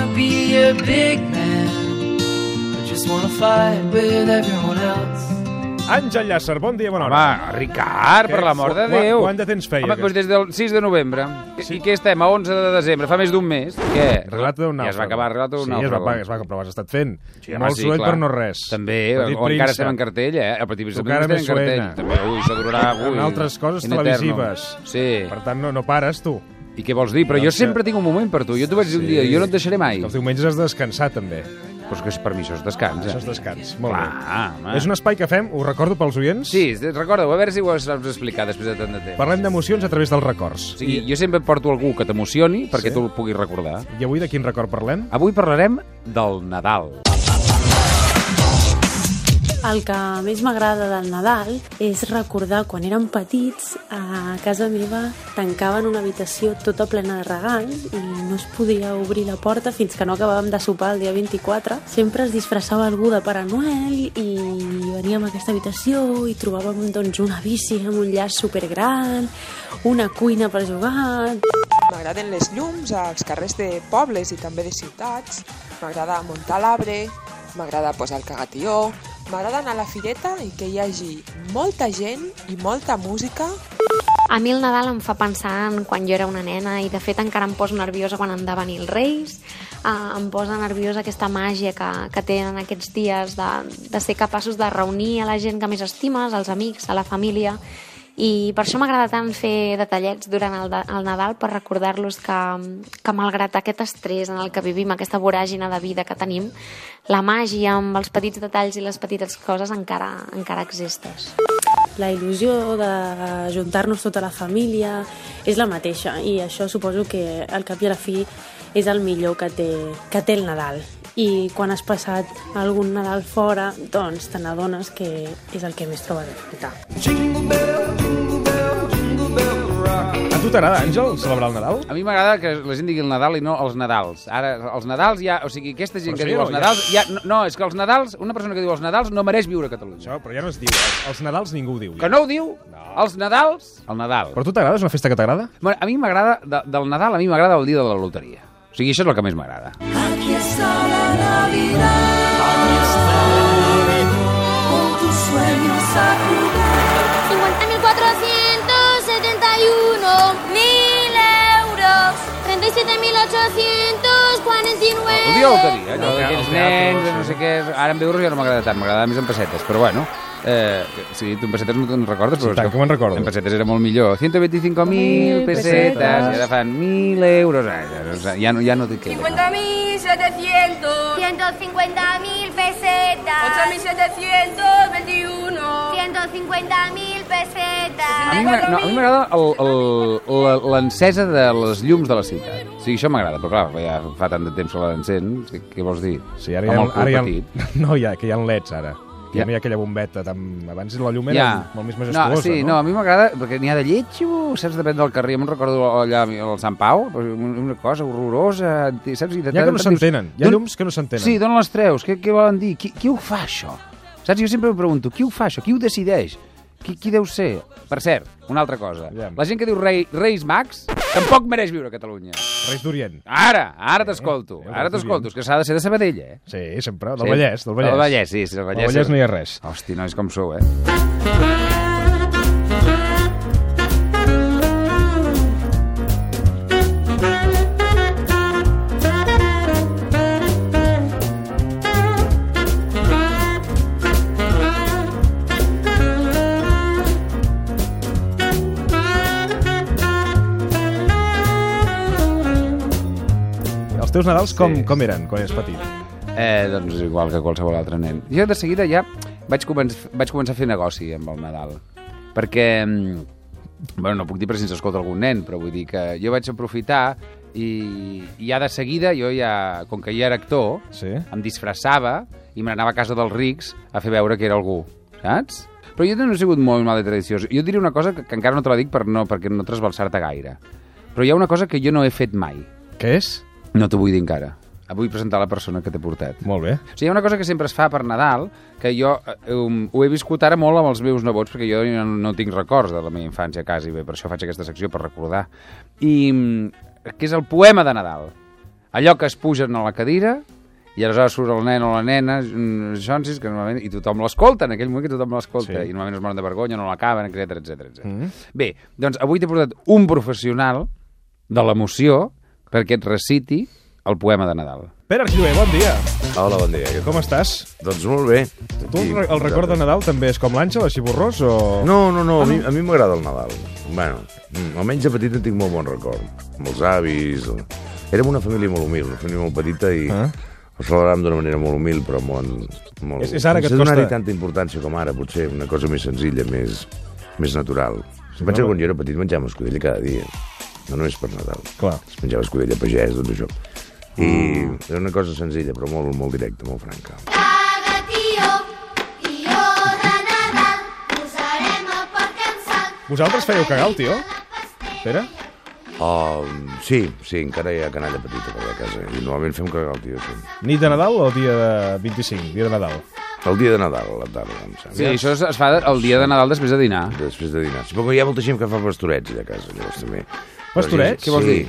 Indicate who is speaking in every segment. Speaker 1: a big man. I just wanna fight with everyone else.
Speaker 2: Àngel Llàcer, bon dia, bona hora.
Speaker 3: Home, Ah, Ricard, per
Speaker 2: Què?
Speaker 3: l'amor de
Speaker 2: Quan-
Speaker 3: Déu.
Speaker 2: quant de temps feia,
Speaker 3: Home,
Speaker 2: aquest?
Speaker 3: doncs des del 6 de novembre. I què estem? A 11 de desembre. Fa més d'un mes. Què?
Speaker 2: Relata d'un
Speaker 3: Ja es va
Speaker 2: nàufrago.
Speaker 3: acabar, relata d'un
Speaker 2: sí, es va,
Speaker 3: nàufrago.
Speaker 2: pagar, es va acabar, però ho has estat fent.
Speaker 3: doncs. Sí, home,
Speaker 2: Molt
Speaker 3: sí,
Speaker 2: soroll
Speaker 3: clar.
Speaker 2: per no res.
Speaker 3: També,
Speaker 2: Petit
Speaker 3: o, encara
Speaker 2: príncep.
Speaker 3: estem en cartell, eh? El Petit Príncep
Speaker 2: Encara
Speaker 3: encara
Speaker 2: més
Speaker 3: estem en cartell.
Speaker 2: suena.
Speaker 3: També, ui, això durarà... Ui,
Speaker 2: En altres coses
Speaker 3: in eternum.
Speaker 2: televisives. Per
Speaker 3: Sí.
Speaker 2: tant, no, no pares, tu.
Speaker 3: I què vols dir? Però jo
Speaker 2: Doncs que-
Speaker 3: sempre tinc un moment per tu. Jo t'ho vaig dir un dia, jo no et deixaré mai.
Speaker 2: Els diumenges has de descansar, també.
Speaker 3: Però és que per mi això és descans,
Speaker 2: Això és
Speaker 3: eh?
Speaker 2: descans. Molt bé.
Speaker 3: Clar, home.
Speaker 2: És un espai que fem, ho recordo pels oients.
Speaker 3: Sí, recorda-ho, a veure si ho saps explicar després de tant de temps.
Speaker 2: Parlem d'emocions a través dels records.
Speaker 3: O sigui, jo sempre porto algú que t'emocioni perquè
Speaker 2: Sí.
Speaker 3: tu el puguis recordar.
Speaker 2: I avui de quin record parlem?
Speaker 3: Avui parlarem del Nadal.
Speaker 4: El que més m'agrada del Nadal és recordar quan érem petits a casa meva tancaven una habitació tota plena de regals i no es podia obrir la porta fins que no acabàvem de sopar el dia 24. Sempre es disfressava algú de Pare Noel i veníem a aquesta habitació i trobàvem doncs, una bici amb un llaç supergran, una cuina per jugar,
Speaker 5: M'agraden les llums als carrers de pobles i també de ciutats. M'agrada muntar l'arbre, m'agrada posar el cagatió, m'agrada anar a la fireta i que hi hagi molta gent i molta música
Speaker 6: A mi el Nadal em fa pensar en quan jo era una nena i de fet encara em posa nerviosa quan han de venir els Reis. Uh, em posa nerviosa aquesta màgia que, que tenen aquests dies de, de ser capaços de reunir a la gent que més estimes, als amics, a la família. I per això m'agrada tant fer detallets durant el, de- el Nadal per recordar-los que, que malgrat aquest estrès en el que vivim, aquesta voràgina de vida que tenim, la màgia amb els petits detalls i les petites coses encara, encara existeix.
Speaker 4: la il·lusió de juntar-nos tota la família és la mateixa i això suposo que al cap i a la fi és el millor que té, que té el Nadal i quan has passat algun Nadal fora doncs te n'adones que és el que més trobes a faltar.
Speaker 2: A tu t'agrada, Àngel, celebrar el Nadal?
Speaker 3: A mi m'agrada que la gent digui el Nadal i no els Nadals. Ara, els Nadals ja... O sigui, aquesta gent
Speaker 2: Però
Speaker 3: que
Speaker 2: sí,
Speaker 3: diu els
Speaker 2: no, ja-
Speaker 3: Nadals... Ja, no, no, és que els Nadals... Una persona que diu els Nadals no mereix viure a Catalunya.
Speaker 2: Això, però ja no es diu. Els- Els Nadals ningú ho diu.
Speaker 3: Que no ho diu? Els Nadals? El Nadal.
Speaker 2: Però a tu t'agrada? És una festa que t'agrada?
Speaker 3: Bueno, a mi m'agrada... De, del Nadal a mi m'agrada el dia de la loteria. O sigui, això és el que més m'agrada.
Speaker 7: Aquí está la Navidad. Con tus sueños a jugar.
Speaker 8: 50.471 mil euros. 37.849.
Speaker 3: El dia de la loteria, allò
Speaker 2: Al
Speaker 3: d'aquells
Speaker 2: teatre,
Speaker 3: nens, de
Speaker 2: sí.
Speaker 3: no sé què... Ara amb euros ja no m'agrada tant, m'agrada més en pessetes, però bueno... Eh, sí, tu en pessetes no te'n recordes? però és
Speaker 2: tant que me'n recordo.
Speaker 3: En pessetes era molt millor. 125.000 pessetes,
Speaker 4: pessetes.
Speaker 3: i ara fan 1.000 euros. Ah, ja, no- ja, no, ja no dic que...
Speaker 8: 50.700. 150.000 pesetas.
Speaker 7: 8.721.
Speaker 8: 150.000
Speaker 3: A mi
Speaker 8: pesetas.
Speaker 3: m'agrada no, a mi m'agrada el- el- la- l'encesa de les llums de la ciutat. O sigui, això m'agrada, però clar, ja fa tant de temps que l'encens, que- què vols dir?
Speaker 2: Sí, ara hi
Speaker 3: Amb
Speaker 2: ha,
Speaker 3: el cul
Speaker 2: ara hi
Speaker 3: petit.
Speaker 2: ha, no, ja, que hi ha leds, ara. Ja.
Speaker 3: Ja.
Speaker 2: no hi ha aquella bombeta. Tan... Abans la llum era
Speaker 3: Ja.
Speaker 2: molt més
Speaker 3: no,
Speaker 2: majestuosa,
Speaker 3: sí, no? a mi m'agrada, perquè n'hi ha de lletjo, saps, depèn del carrer. Jo me'n recordo allà al Sant Pau, una cosa horrorosa, saps? I de
Speaker 2: Hi ha que no
Speaker 3: tant en tant dius,
Speaker 2: s'entenen. Hi ha
Speaker 3: "D'on-
Speaker 2: llums que no s'entenen.
Speaker 3: Sí, d'on les treus? Què, què volen dir? Qui, qui ho fa, això? Saps? Jo sempre em pregunto, qui ho fa, això? Qui ho decideix? Qui, qui deu ser? Per cert, una altra cosa.
Speaker 2: Aviam.
Speaker 3: La gent que diu rei, Reis Mags tampoc mereix viure a Catalunya.
Speaker 2: Reis d'Orient.
Speaker 3: Ara, ara t'escolto.
Speaker 2: eh,
Speaker 3: Ara
Speaker 2: Reis
Speaker 3: t'escolto. És que s'ha de ser de Sabadell, eh?
Speaker 2: Sí, sempre. Del
Speaker 3: Sí.
Speaker 2: Vallès, del Vallès.
Speaker 3: Del Vallès, sí, sí, del Vallès.
Speaker 2: Del Vallès no hi ha res.
Speaker 3: Hosti, nois, com sou, eh?
Speaker 2: Els teus Nadals com,
Speaker 3: Sí.
Speaker 2: com eren quan eres petit?
Speaker 3: Eh, doncs és igual que qualsevol altre nen. Jo de seguida ja vaig, comen vaig començar a fer negoci amb el Nadal, perquè... mm, Bueno, no puc dir per si ens escolta algun nen, però vull dir que jo vaig aprofitar i, i ja de seguida, jo ja, com que ja era actor,
Speaker 2: Sí.
Speaker 3: em disfressava i me n'anava a casa dels rics a fer veure que era algú, saps? Però jo no he sigut molt mal de tradicions. Jo et diré una cosa que, que encara no te la dic per no, perquè no trasbalsar-te gaire. Però hi ha una cosa que jo no he fet mai.
Speaker 2: Què és?
Speaker 3: No t'ho vull dir encara. Vull presentar la persona que t'he portat.
Speaker 2: Molt bé.
Speaker 3: O sigui, hi ha una cosa que sempre es fa per Nadal, que jo eh, um, ho he viscut ara molt amb els meus nebots, perquè jo no, no tinc records de la meva infància quasi, bé, per això faig aquesta secció, per recordar. I mm, que és el poema de Nadal. Allò que es pugen a la cadira i aleshores surt el nen o la nena, mm, Johnsis, que normalment, i tothom l'escolta, en aquell moment que tothom
Speaker 2: Sí.
Speaker 3: l'escolta, sí. i normalment es moren de vergonya, no l'acaben, etc etc etc.
Speaker 2: Mm.
Speaker 3: Bé, doncs avui t'he portat un professional de l'emoció perquè et reciti el poema de Nadal.
Speaker 2: Pere Arxiver, bon dia.
Speaker 9: Hola, bon dia.
Speaker 2: Com estàs?
Speaker 9: Doncs molt bé.
Speaker 2: Tu el, re- el record de Nadal també és com l'Àngel, així borrós, o...?
Speaker 9: No, no, no, a mi a mi m'agrada el Nadal. Bueno, mm, almenys de petit en tinc molt bon record. Amb els avis... el- Érem una família molt humil, una família molt petita i
Speaker 2: Ah.
Speaker 9: ho celebràvem d'una manera molt humil, però molt... molt...
Speaker 2: És- és ara que et
Speaker 9: No
Speaker 2: costa-
Speaker 9: donar-hi tanta importància com ara, potser una cosa més senzilla, més, més natural. Si pensa que quan jo era petit menjàvem escudella cada dia, no només per Nadal.
Speaker 2: Clar. Ah.
Speaker 9: Es menjava escudella pagès, tot això. I era una cosa senzilla, però molt, molt directa, molt franca.
Speaker 8: Cagatío, tió de Nadal, posarem el pa cansat.
Speaker 2: Vosaltres fèieu cagar el tio? Pere?
Speaker 9: Oh, sí, sí, encara hi ha canalla petita per la casa. I normalment fem cagar el tio, sí.
Speaker 2: Nit de Nadal o dia de 25, dia de Nadal?
Speaker 9: El dia de Nadal, a la tarda, em sembla.
Speaker 3: Sí, això es, es fa el dia de Nadal després de dinar.
Speaker 9: Després de dinar. Suposo que hi ha molta gent que fa pastorets allà a casa, llavors també.
Speaker 2: Pastorets?
Speaker 9: Què vols dir?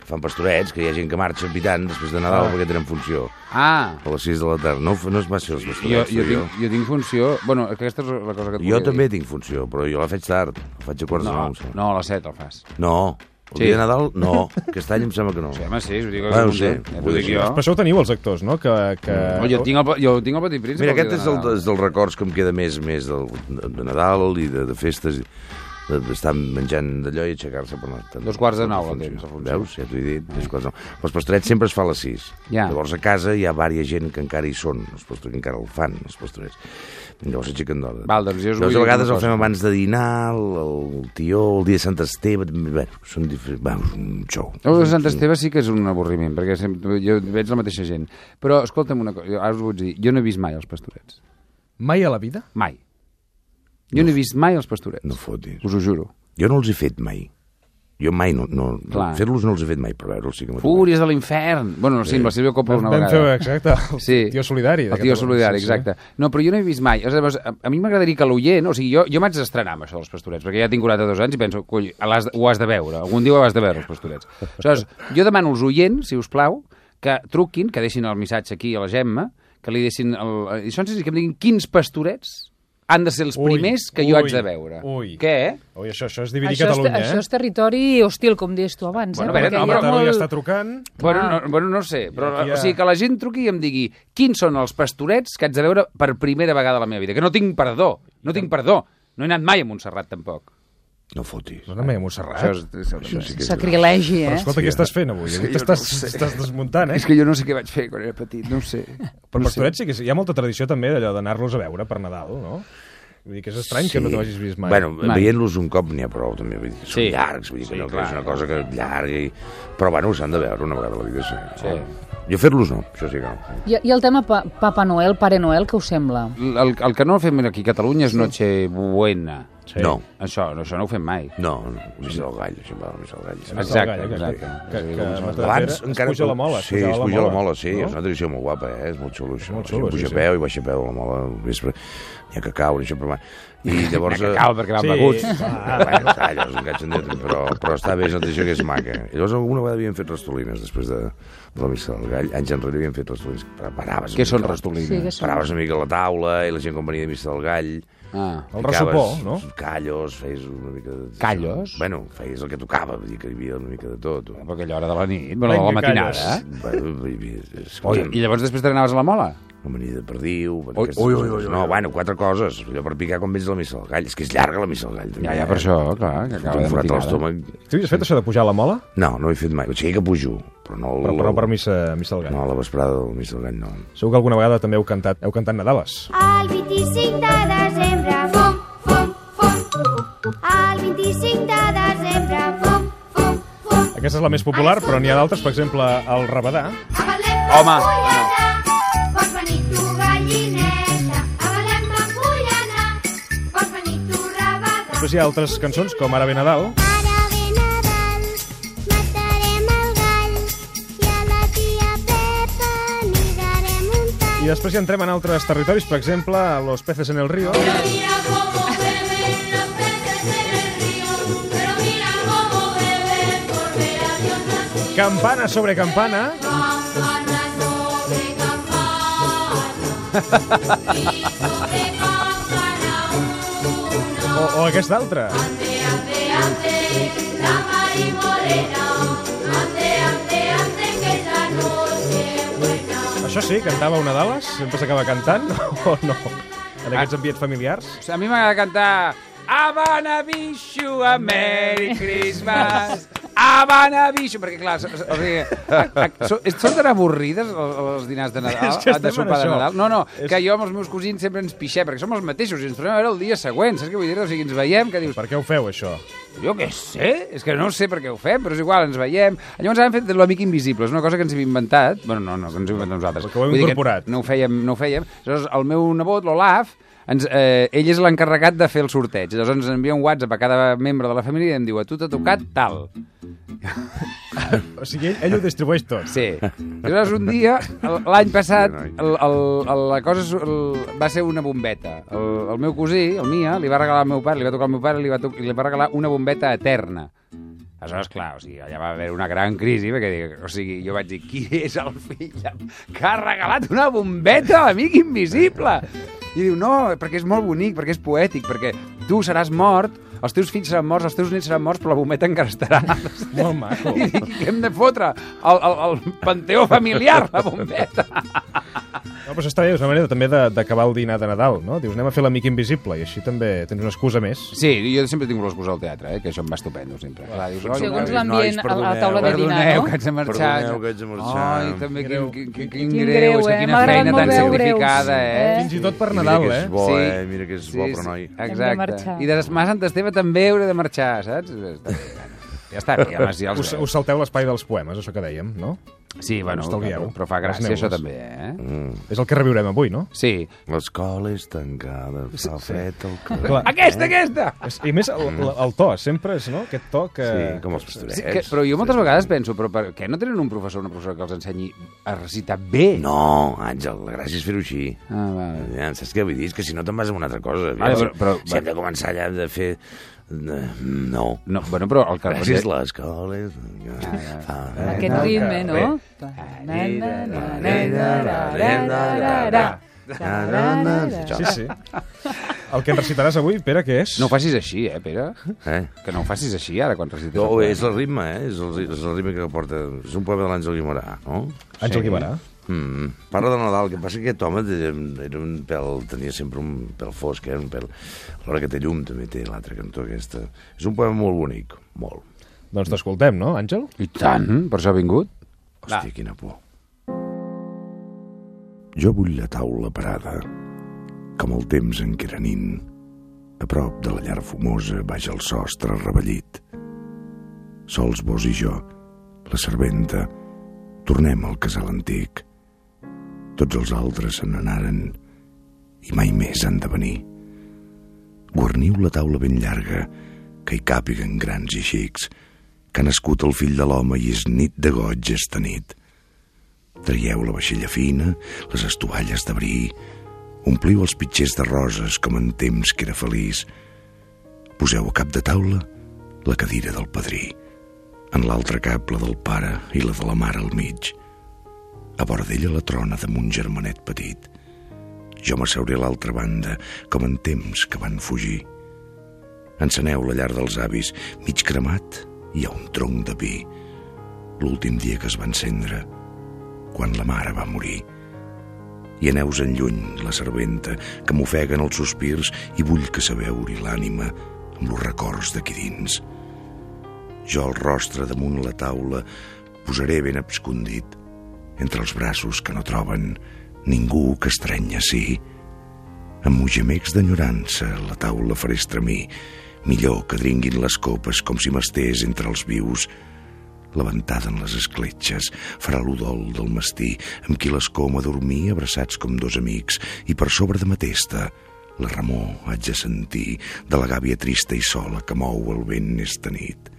Speaker 9: Que fan pastorets, que hi ha gent que marxa pitant després de Nadal
Speaker 2: Ah.
Speaker 9: perquè tenen funció.
Speaker 3: Ah,
Speaker 9: A les 6 de la tarda. No, no es va ser els
Speaker 3: jo,
Speaker 9: pastorets,
Speaker 3: jo,
Speaker 9: sóc
Speaker 3: tinc, jo tinc funció... Bueno, aquesta és la cosa que et
Speaker 9: Jo
Speaker 3: volia
Speaker 9: també
Speaker 3: dir.
Speaker 9: tinc funció, però jo la faig tard. La faig a quarts
Speaker 3: No,
Speaker 9: de nou, em sembla.
Speaker 3: no, a les 7 el fas.
Speaker 9: No. El
Speaker 3: Sí.
Speaker 9: dia de Nadal, no. Aquest any em sembla que no.
Speaker 3: Sí, home, sí, us ho dic,
Speaker 9: Ah, ho
Speaker 3: ja
Speaker 9: sé,
Speaker 3: t'ho
Speaker 9: vull
Speaker 3: dic
Speaker 9: dir,
Speaker 3: jo.
Speaker 2: Però això ho teniu els actors, no? Que, que...
Speaker 3: No, jo, tinc el, jo tinc el petit príncip.
Speaker 9: Mira,
Speaker 3: dia
Speaker 9: aquest
Speaker 3: de
Speaker 9: és el,
Speaker 3: Nadal.
Speaker 9: és dels records que em queda més, més del, de Nadal i de, de festes, i de- d'estar menjant d'allò i aixecar-se per anar...
Speaker 3: Dos quarts de
Speaker 9: per la
Speaker 3: nou la
Speaker 9: funció.
Speaker 3: tens, la funció.
Speaker 9: Veus? Ja t'ho he dit, dos quarts de nou. Els pastorets sempre es fa a les 6.
Speaker 3: Ja.
Speaker 9: Llavors a casa hi ha vària gent que encara hi són, els pastorets que encara el fan, els pastorets. Llavors s'aixequen d'hora.
Speaker 3: Val, doncs jo us vull
Speaker 9: Llavors
Speaker 3: dir
Speaker 9: a vegades
Speaker 3: una
Speaker 9: el fem
Speaker 3: cosa.
Speaker 9: abans de dinar, el, el tió, el dia de Sant Esteve... també, Bueno, són diferents... Va, és un xou.
Speaker 3: El de Sant Esteve sí que és un avorriment, perquè sempre, jo veig la mateixa gent. Però, escolta'm una cosa, jo ara us ho vaig dir, jo no he vist mai els pastorets.
Speaker 10: Mai a la vida?
Speaker 3: Mai. Jo no, he vist mai els pastorets.
Speaker 9: No fotis.
Speaker 3: Us ho juro.
Speaker 9: Jo no els he fet mai. Jo mai no... no
Speaker 3: Clar.
Speaker 9: Fer-los no els he fet mai, però veure'ls sí que m'ha tocat.
Speaker 3: Fúries de l'infern! Bueno, sí, sí, amb la Sílvia Coppola una
Speaker 2: Vam
Speaker 3: vegada.
Speaker 2: fer, exacte, el tio solidari.
Speaker 3: El tio solidari, exacte. No, però jo no he vist mai. Llavors, a, a mi m'agradaria que l'oient... O sigui, jo, jo m'haig d'estrenar amb això dels pastorets, perquè ja tinc 42 anys i penso, coi, l'has- ho has de veure. Algun dia ho has de veure, els pastorets. Aleshores, jo demano als oients, si us plau, que truquin, que deixin el missatge aquí a la Gemma, que li deixin... El, I això ens que em diguin quins pastorets han de ser els
Speaker 2: Ui,
Speaker 3: primers que jo
Speaker 2: ui,
Speaker 3: haig de veure.
Speaker 2: ui.
Speaker 3: Què?
Speaker 2: Ui, això, això és dividir
Speaker 11: Això és,
Speaker 2: Catalunya,
Speaker 11: això
Speaker 2: eh?
Speaker 11: és territori hostil, com deies tu abans.
Speaker 3: Bueno,
Speaker 11: eh?
Speaker 3: espera,
Speaker 11: perquè hi
Speaker 3: no,
Speaker 11: ha
Speaker 3: però- eh?
Speaker 2: Tarragona
Speaker 11: molt-
Speaker 2: ja està trucant.
Speaker 3: Bueno, no, bueno, no sé, però
Speaker 2: Aquí hi ha-
Speaker 3: o sigui, que la gent truqui i em digui quins són els pastorets que haig de veure per primera vegada a la meva vida, que no tinc perdó, no tinc perdó. No he anat mai a Montserrat, tampoc.
Speaker 9: No fotis.
Speaker 2: No anem a Montserrat.
Speaker 3: Això és, és, això sí que...
Speaker 11: Sacrilegi, eh?
Speaker 2: Escolta, què estàs fent avui? Avui t'estàs estàs desmuntant, eh?
Speaker 3: és que jo no sé què vaig fer quan era petit, no ho sé.
Speaker 2: Però pastorets sí que hi ha molta tradició també d'allò d'anar-los a veure per Nadal, no? Vull dir que és estrany que no t'ho hagis vist mai.
Speaker 9: Bueno,
Speaker 3: Mai.
Speaker 9: veient-los un cop n'hi ha prou, també. Vull dir, que són
Speaker 3: Sí.
Speaker 9: llargs, vull dir que
Speaker 3: Sí,
Speaker 9: sí, no, que
Speaker 3: clar.
Speaker 9: és una cosa que llarga i... Però, bueno, s'han de veure una vegada a la vida, sí.
Speaker 3: Sí.
Speaker 9: Jo fer-los no, això sí que no.
Speaker 11: I, I el tema pa Papa Noel, Pare Noel, què us sembla?
Speaker 3: El, el que no fem aquí a Catalunya és Noche Buena.
Speaker 9: Sí. No,
Speaker 3: Això, no, això no ho fem mai.
Speaker 2: Eh,
Speaker 9: no, no. Missa del gall, això em va, missa del gall. sí.
Speaker 3: Exacte,
Speaker 2: gall, aquest, que-
Speaker 3: exacte.
Speaker 2: que- que-
Speaker 3: Sí,
Speaker 9: Abans
Speaker 2: Es
Speaker 9: encara...
Speaker 2: puja la mola, es
Speaker 9: Sí,
Speaker 2: pujava
Speaker 9: es
Speaker 2: la
Speaker 9: puja la
Speaker 2: mola,
Speaker 9: mola, sí.
Speaker 2: no?
Speaker 9: És una tradició molt guapa, eh? És molt xulo, això.
Speaker 2: Molt xulo,
Speaker 9: La gent
Speaker 2: sí,
Speaker 9: puja
Speaker 2: sí.
Speaker 9: a peu i baixa a peu a la mola al vespre. N'hi ha que caure, això, però... va. I llavors... eh, Ah,
Speaker 3: Cal, perquè van
Speaker 2: Sí. Ah,
Speaker 3: beguts.
Speaker 9: Bueno, està, allò és un catxandet, però, però està bé, és una tradició que és maca. I Llavors alguna vegada havíem fet rastolines després de, de la missa del gall. Anys enrere havíem fet rastolines. Però Paraves una
Speaker 3: Què són
Speaker 11: Sí,
Speaker 9: mica-
Speaker 11: que
Speaker 3: rastolines?
Speaker 11: són-
Speaker 9: Paraves una mica a la taula i la gent quan venia de missa del gall...
Speaker 3: Ah,
Speaker 2: El
Speaker 9: ficaves
Speaker 2: ressopó, no?
Speaker 9: Callos, feies una mica de...
Speaker 3: Callos?
Speaker 9: Bueno, feies el que tocava, vull dir que hi havia una mica de tot.
Speaker 3: però aquella hora de la nit, bueno, de la
Speaker 2: Vinga,
Speaker 3: matinada. Eh?
Speaker 9: Bueno, hi havia... és-
Speaker 3: Oi, I llavors després t'anaves a la mola?
Speaker 9: amanida de perdiu...
Speaker 3: Ui,
Speaker 9: aquestes
Speaker 3: ui,
Speaker 9: coses.
Speaker 3: ui, ui,
Speaker 9: no,
Speaker 3: ui.
Speaker 9: bueno, quatre coses. Allò per picar quan vens de la missa del gall. És que és llarga la missa del gall. eh?
Speaker 3: Ja, ja, per això, clar, que acaba
Speaker 9: Un
Speaker 3: de
Speaker 9: forat a
Speaker 3: matinada.
Speaker 9: l'estómac
Speaker 2: Tu has fet això de pujar a la mola?
Speaker 9: No, no ho he fet mai. O sigui que pujo, però no...
Speaker 2: Però, però per missa, missa del gall.
Speaker 9: No, a la vesprada del mig del gall, no.
Speaker 2: Segur que alguna vegada també heu cantat, heu cantat Nadales.
Speaker 8: El 25 de desembre, fum, fum, fum. El 25 de desembre, fum, fum, fum.
Speaker 2: Aquesta és la més popular, però n'hi ha d'altres, per exemple, el rabadà.
Speaker 8: A Belém,
Speaker 3: Home,
Speaker 8: Pampullanà, pots venir tu, gallineta. A Belém, Pampullanà, pots venir tu, rabadà.
Speaker 2: Després hi ha altres cançons, com Ara ve Nadal.
Speaker 8: Ara ve Nadal, matarem el gall i a la tia Pepa li darem un tall.
Speaker 2: I després hi entrem en altres territoris, per exemple, a Los peces en el río. Campana sobre campana. O, o aquesta altra. Això sí, cantava una d'ales, sempre s'acaba cantant, o no? En aquests ambients familiars?
Speaker 3: O sigui, a mi m'agrada cantar Havana Bichu, a Merry Christmas. Havana Bichu, perquè clar, o o sigui, a- a- so- són tan avorrides els, els dinars de Nadal,
Speaker 2: És que estem
Speaker 3: de
Speaker 2: en
Speaker 3: sopar de
Speaker 2: això.
Speaker 3: Nadal. No, no, que jo amb els meus cosins sempre ens pixem, perquè som els mateixos i ens tornem a veure el dia següent, saps què vull dir? O sigui, ens veiem, que dius...
Speaker 2: Per què ho feu, això?
Speaker 3: Jo què sé, és que no sé per què ho fem, però és igual, ens veiem. Llavors ara hem fet l'amic invisible, és una cosa que ens hem inventat. Bueno, no, no, que ens hem inventat nosaltres.
Speaker 2: Perquè ho hem
Speaker 3: Vull dir que
Speaker 2: incorporat.
Speaker 3: No ho fèiem, no ho fèiem. Llavors, el meu nebot, l'Olaf, ens, eh, ell és l'encarregat de fer el sorteig. Llavors ens envia un WhatsApp a cada membre de la família i em diu, a tu t'ha tocat tal.
Speaker 2: O sigui, ell, ell ho distribueix tot.
Speaker 3: Sí. Llavors un dia, l- l'any passat, el, el, el, la cosa su- el, va ser una bombeta. El, el meu cosí, el Mia, li va regalar al meu pare, li va tocar al meu pare, li va, to li va regalar una bombeta eterna. Aleshores, clar, o sigui, allà va haver una gran crisi, perquè dic, o sigui, jo vaig dir, qui és el fill que ha regalat una bombeta a l'amic invisible? I diu, no, perquè és molt bonic, perquè és poètic, perquè tu seràs mort, els teus fills seran morts, els teus nets seran morts, però la bombeta encara estarà.
Speaker 2: Molt maco.
Speaker 3: I dic, "I què hem de fotre? El, el, el panteó familiar, la bombeta.
Speaker 2: No, però està bé, és una manera també de- d'acabar el dinar de Nadal, no? Dius, anem a fer l'amic invisible, i així també tens una excusa més.
Speaker 3: Sí, jo sempre tinc l'excusa al teatre, eh, que això em va estupendo, sempre. Clar, dius, "Oi,
Speaker 11: Segons
Speaker 3: nois,
Speaker 11: l'ambient a la taula de dinar,
Speaker 3: Perdoneu,
Speaker 11: no?
Speaker 3: que haig de marxar.
Speaker 9: Perdoneu que haig de marxar.
Speaker 3: Ai, també quin,
Speaker 2: Greu.
Speaker 3: quin, quin, quin,
Speaker 11: Quin
Speaker 3: greu,
Speaker 11: greu,
Speaker 3: és que
Speaker 11: eh?
Speaker 3: quina
Speaker 11: M'ha agradat
Speaker 3: feina tan
Speaker 11: molt veure-us.
Speaker 3: sacrificada, eh?
Speaker 11: Eh?
Speaker 2: Fins i tot per
Speaker 9: Mira
Speaker 2: Nadal,
Speaker 9: que
Speaker 2: eh?
Speaker 9: és bo, eh? Mira que és bo, però noi.
Speaker 3: Exacte.
Speaker 11: marxar.
Speaker 3: I de Mas Sant Esteve també hauré de marxar, saps? Està bé, bueno. Ja està, ja, home, si ja els
Speaker 2: Us, us salteu l'espai dels poemes, això que dèiem, no?
Speaker 3: Sí, bueno,
Speaker 2: us estalvieu.
Speaker 3: però fa gràcia
Speaker 2: Les neules.
Speaker 3: això també, eh?
Speaker 2: És el que reviurem avui, no?
Speaker 3: Sí.
Speaker 9: L'escola és tancada, fa fred al
Speaker 2: Clar.
Speaker 9: carrer.
Speaker 3: Aquesta, aquesta!
Speaker 2: És- I més el, el, el to, sempre és, no? Aquest to que...
Speaker 9: Sí, com els pastorets.
Speaker 3: Sí, que, però jo moltes vegades penso, però per què no tenen un professor o una professora que els ensenyi a recitar bé?
Speaker 9: No, Àngel, la gràcia és fer-ho així.
Speaker 3: Ah, val.
Speaker 9: Ja, saps què vull dir? És que si no te'n vas a una altra cosa.
Speaker 3: Vale,
Speaker 9: Si-
Speaker 3: però- però-
Speaker 9: si hem de començar allà de fer... de- No.
Speaker 3: No, bueno, però el que...
Speaker 9: Gràcies a l'escola. és- Ah, eh?
Speaker 11: Aquest ritme, no?
Speaker 9: Bé. Ah,
Speaker 2: Sí, sí. El que ens recitaràs avui, Pere, què és?
Speaker 3: No ho facis així, eh, Pere?
Speaker 9: Eh?
Speaker 3: Que no ho facis així, ara, quan recites...
Speaker 9: No,
Speaker 3: el
Speaker 9: és el ritme, eh? És el, ri- és el ritme que porta... És un poema de l'Àngel Guimarà, no?
Speaker 2: Àngel Guimarà.
Speaker 9: Mm. Parla de Nadal, que passa que aquest home té- era un pèl, tenia sempre un pèl fosc, eh? un pèl... L'hora que té llum també té l'altre cantó aquesta. És un poema molt bonic, molt.
Speaker 2: Doncs t'escoltem, no, Àngel?
Speaker 3: I tant, per això ha vingut. Va.
Speaker 9: Hòstia, quina por. Jo vull la taula parada, com el temps en què era nin, a prop de la llar fumosa, baix el sostre revellit. Sols vos i jo, la serventa, tornem al casal antic. Tots els altres se n'anaren i mai més han de venir. Guarniu la taula ben llarga, que hi càpiguen grans i xics, que ha nascut el fill de l'home i és nit de goig esta nit. Traieu la vaixella fina, les estovalles de brí, ompliu els pitxers de roses com en temps que era feliç. Poseu a cap de taula la cadira del padrí, en l'altre cap la del pare i la de la mare al mig. A vora d'ella la trona damunt un germanet petit. Jo m'asseuré a l'altra banda, com en temps que van fugir. Enceneu la llar dels avis, mig cremat, hi ha un tronc de pi. L'últim dia que es va encendre, quan la mare va morir. I aneu-vos en lluny, la serventa, que m'ofeguen els sospirs i vull que s'aveuri l'ànima amb los records d'aquí dins. Jo el rostre damunt la taula posaré ben abscondit entre els braços que no troben ningú que estrenya sí. Amb mogemecs d'enyorança la taula faré estremir, millor que dringuin les copes com si m'estés entre els vius. La ventada en les escletxes farà l'udol del mastí, amb qui l'escoma a dormir abraçats com dos amics, i per sobre de ma testa la remor haig de sentir de la gàbia trista i sola que mou el vent esta nit.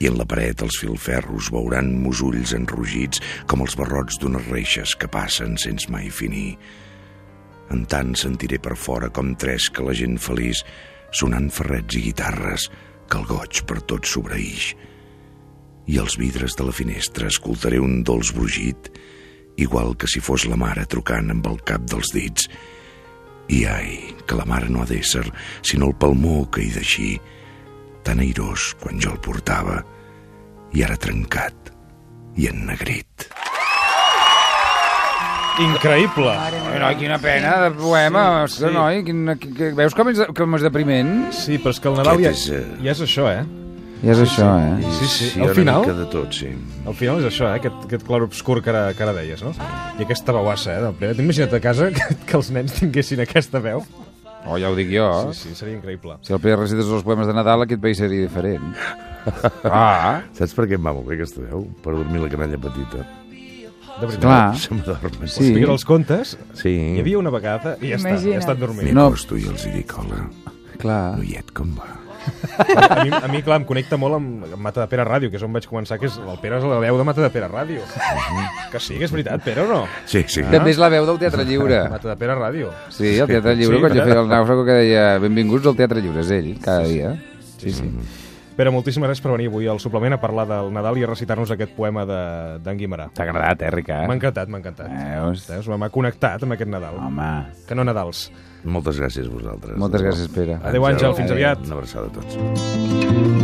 Speaker 9: I en la paret els filferros veuran musulls enrugits com els barrots d'unes reixes que passen sense mai finir. En tant sentiré per fora com tres que la gent feliç, sonant ferrets i guitarres, que el goig per tot sobreïix. I als vidres de la finestra escoltaré un dolç brugit igual que si fos la mare trucant amb el cap dels dits. I ai, que la mare no ha d'ésser, sinó el palmó que hi deixí, tan airós quan jo el portava, i ara trencat i ennegrit.
Speaker 2: Increïble.
Speaker 3: Però quina pena de poema, sí, sí. noi. Quina, que, que, veus com és, com és depriment?
Speaker 2: Sí, però és que el Nadal ja, ja és això, eh?
Speaker 3: Ja és això, eh?
Speaker 2: Sí, sí.
Speaker 9: Sí,
Speaker 2: Al
Speaker 9: una
Speaker 2: final,
Speaker 9: mica de tot, sí.
Speaker 2: al final és això, eh? Aquest, aquest clarobscur que ara, que ara deies, no? I aquesta veuassa, eh? Del primer. T'imagina't a casa que, que els nens tinguessin aquesta veu?
Speaker 3: Oh, ja ho dic jo.
Speaker 2: Sí, sí, seria increïble.
Speaker 3: Si el Pere recites els poemes de Nadal, aquest país seria diferent. Ah.
Speaker 9: Saps per què em va molt bé aquesta veu? Per dormir la canalla petita.
Speaker 2: De veritat.
Speaker 3: Clar.
Speaker 9: Se m'adorm.
Speaker 2: Sí. Expliquen els contes.
Speaker 9: Sí.
Speaker 2: Hi havia una vegada i ja està,
Speaker 9: Imagina't.
Speaker 2: ja estan dormint.
Speaker 9: M'hi No. acosto i els hi dic hola.
Speaker 3: Clar.
Speaker 9: Noiet, com va?
Speaker 2: A mi, a mi, clar, em connecta molt amb, amb Mata de Pere Ràdio, que és on vaig començar, que és el Pere és la veu de Mata de Pere Ràdio.
Speaker 3: Mhm.
Speaker 2: Que sí, que és veritat, Pere, o no?
Speaker 9: Sí, sí.
Speaker 3: També és la veu del Teatre Lliure.
Speaker 2: Mata de Pere Ràdio.
Speaker 3: Sí, el Teatre Lliure, sí, quan jo feia el nàufrago, que deia benvinguts al Teatre Lliure, és ell, cada dia. Sí, sí.
Speaker 2: Pere, moltíssimes gràcies per venir avui al suplement a parlar del Nadal i a recitar-nos aquest poema de- d'en de, Guimarà.
Speaker 3: T'ha agradat, eh, Ricard?
Speaker 2: M'ha encantat, m'ha encantat.
Speaker 3: Veus?
Speaker 2: Veus? M'ha connectat amb aquest Nadal.
Speaker 3: Home.
Speaker 2: Que no Nadals.
Speaker 9: Moltes gràcies a vosaltres. eh,
Speaker 3: Moltes gràcies, Pere.
Speaker 2: Adéu, Àngel, fins aviat.
Speaker 9: Una abraçada a tots.
Speaker 2: Adéu.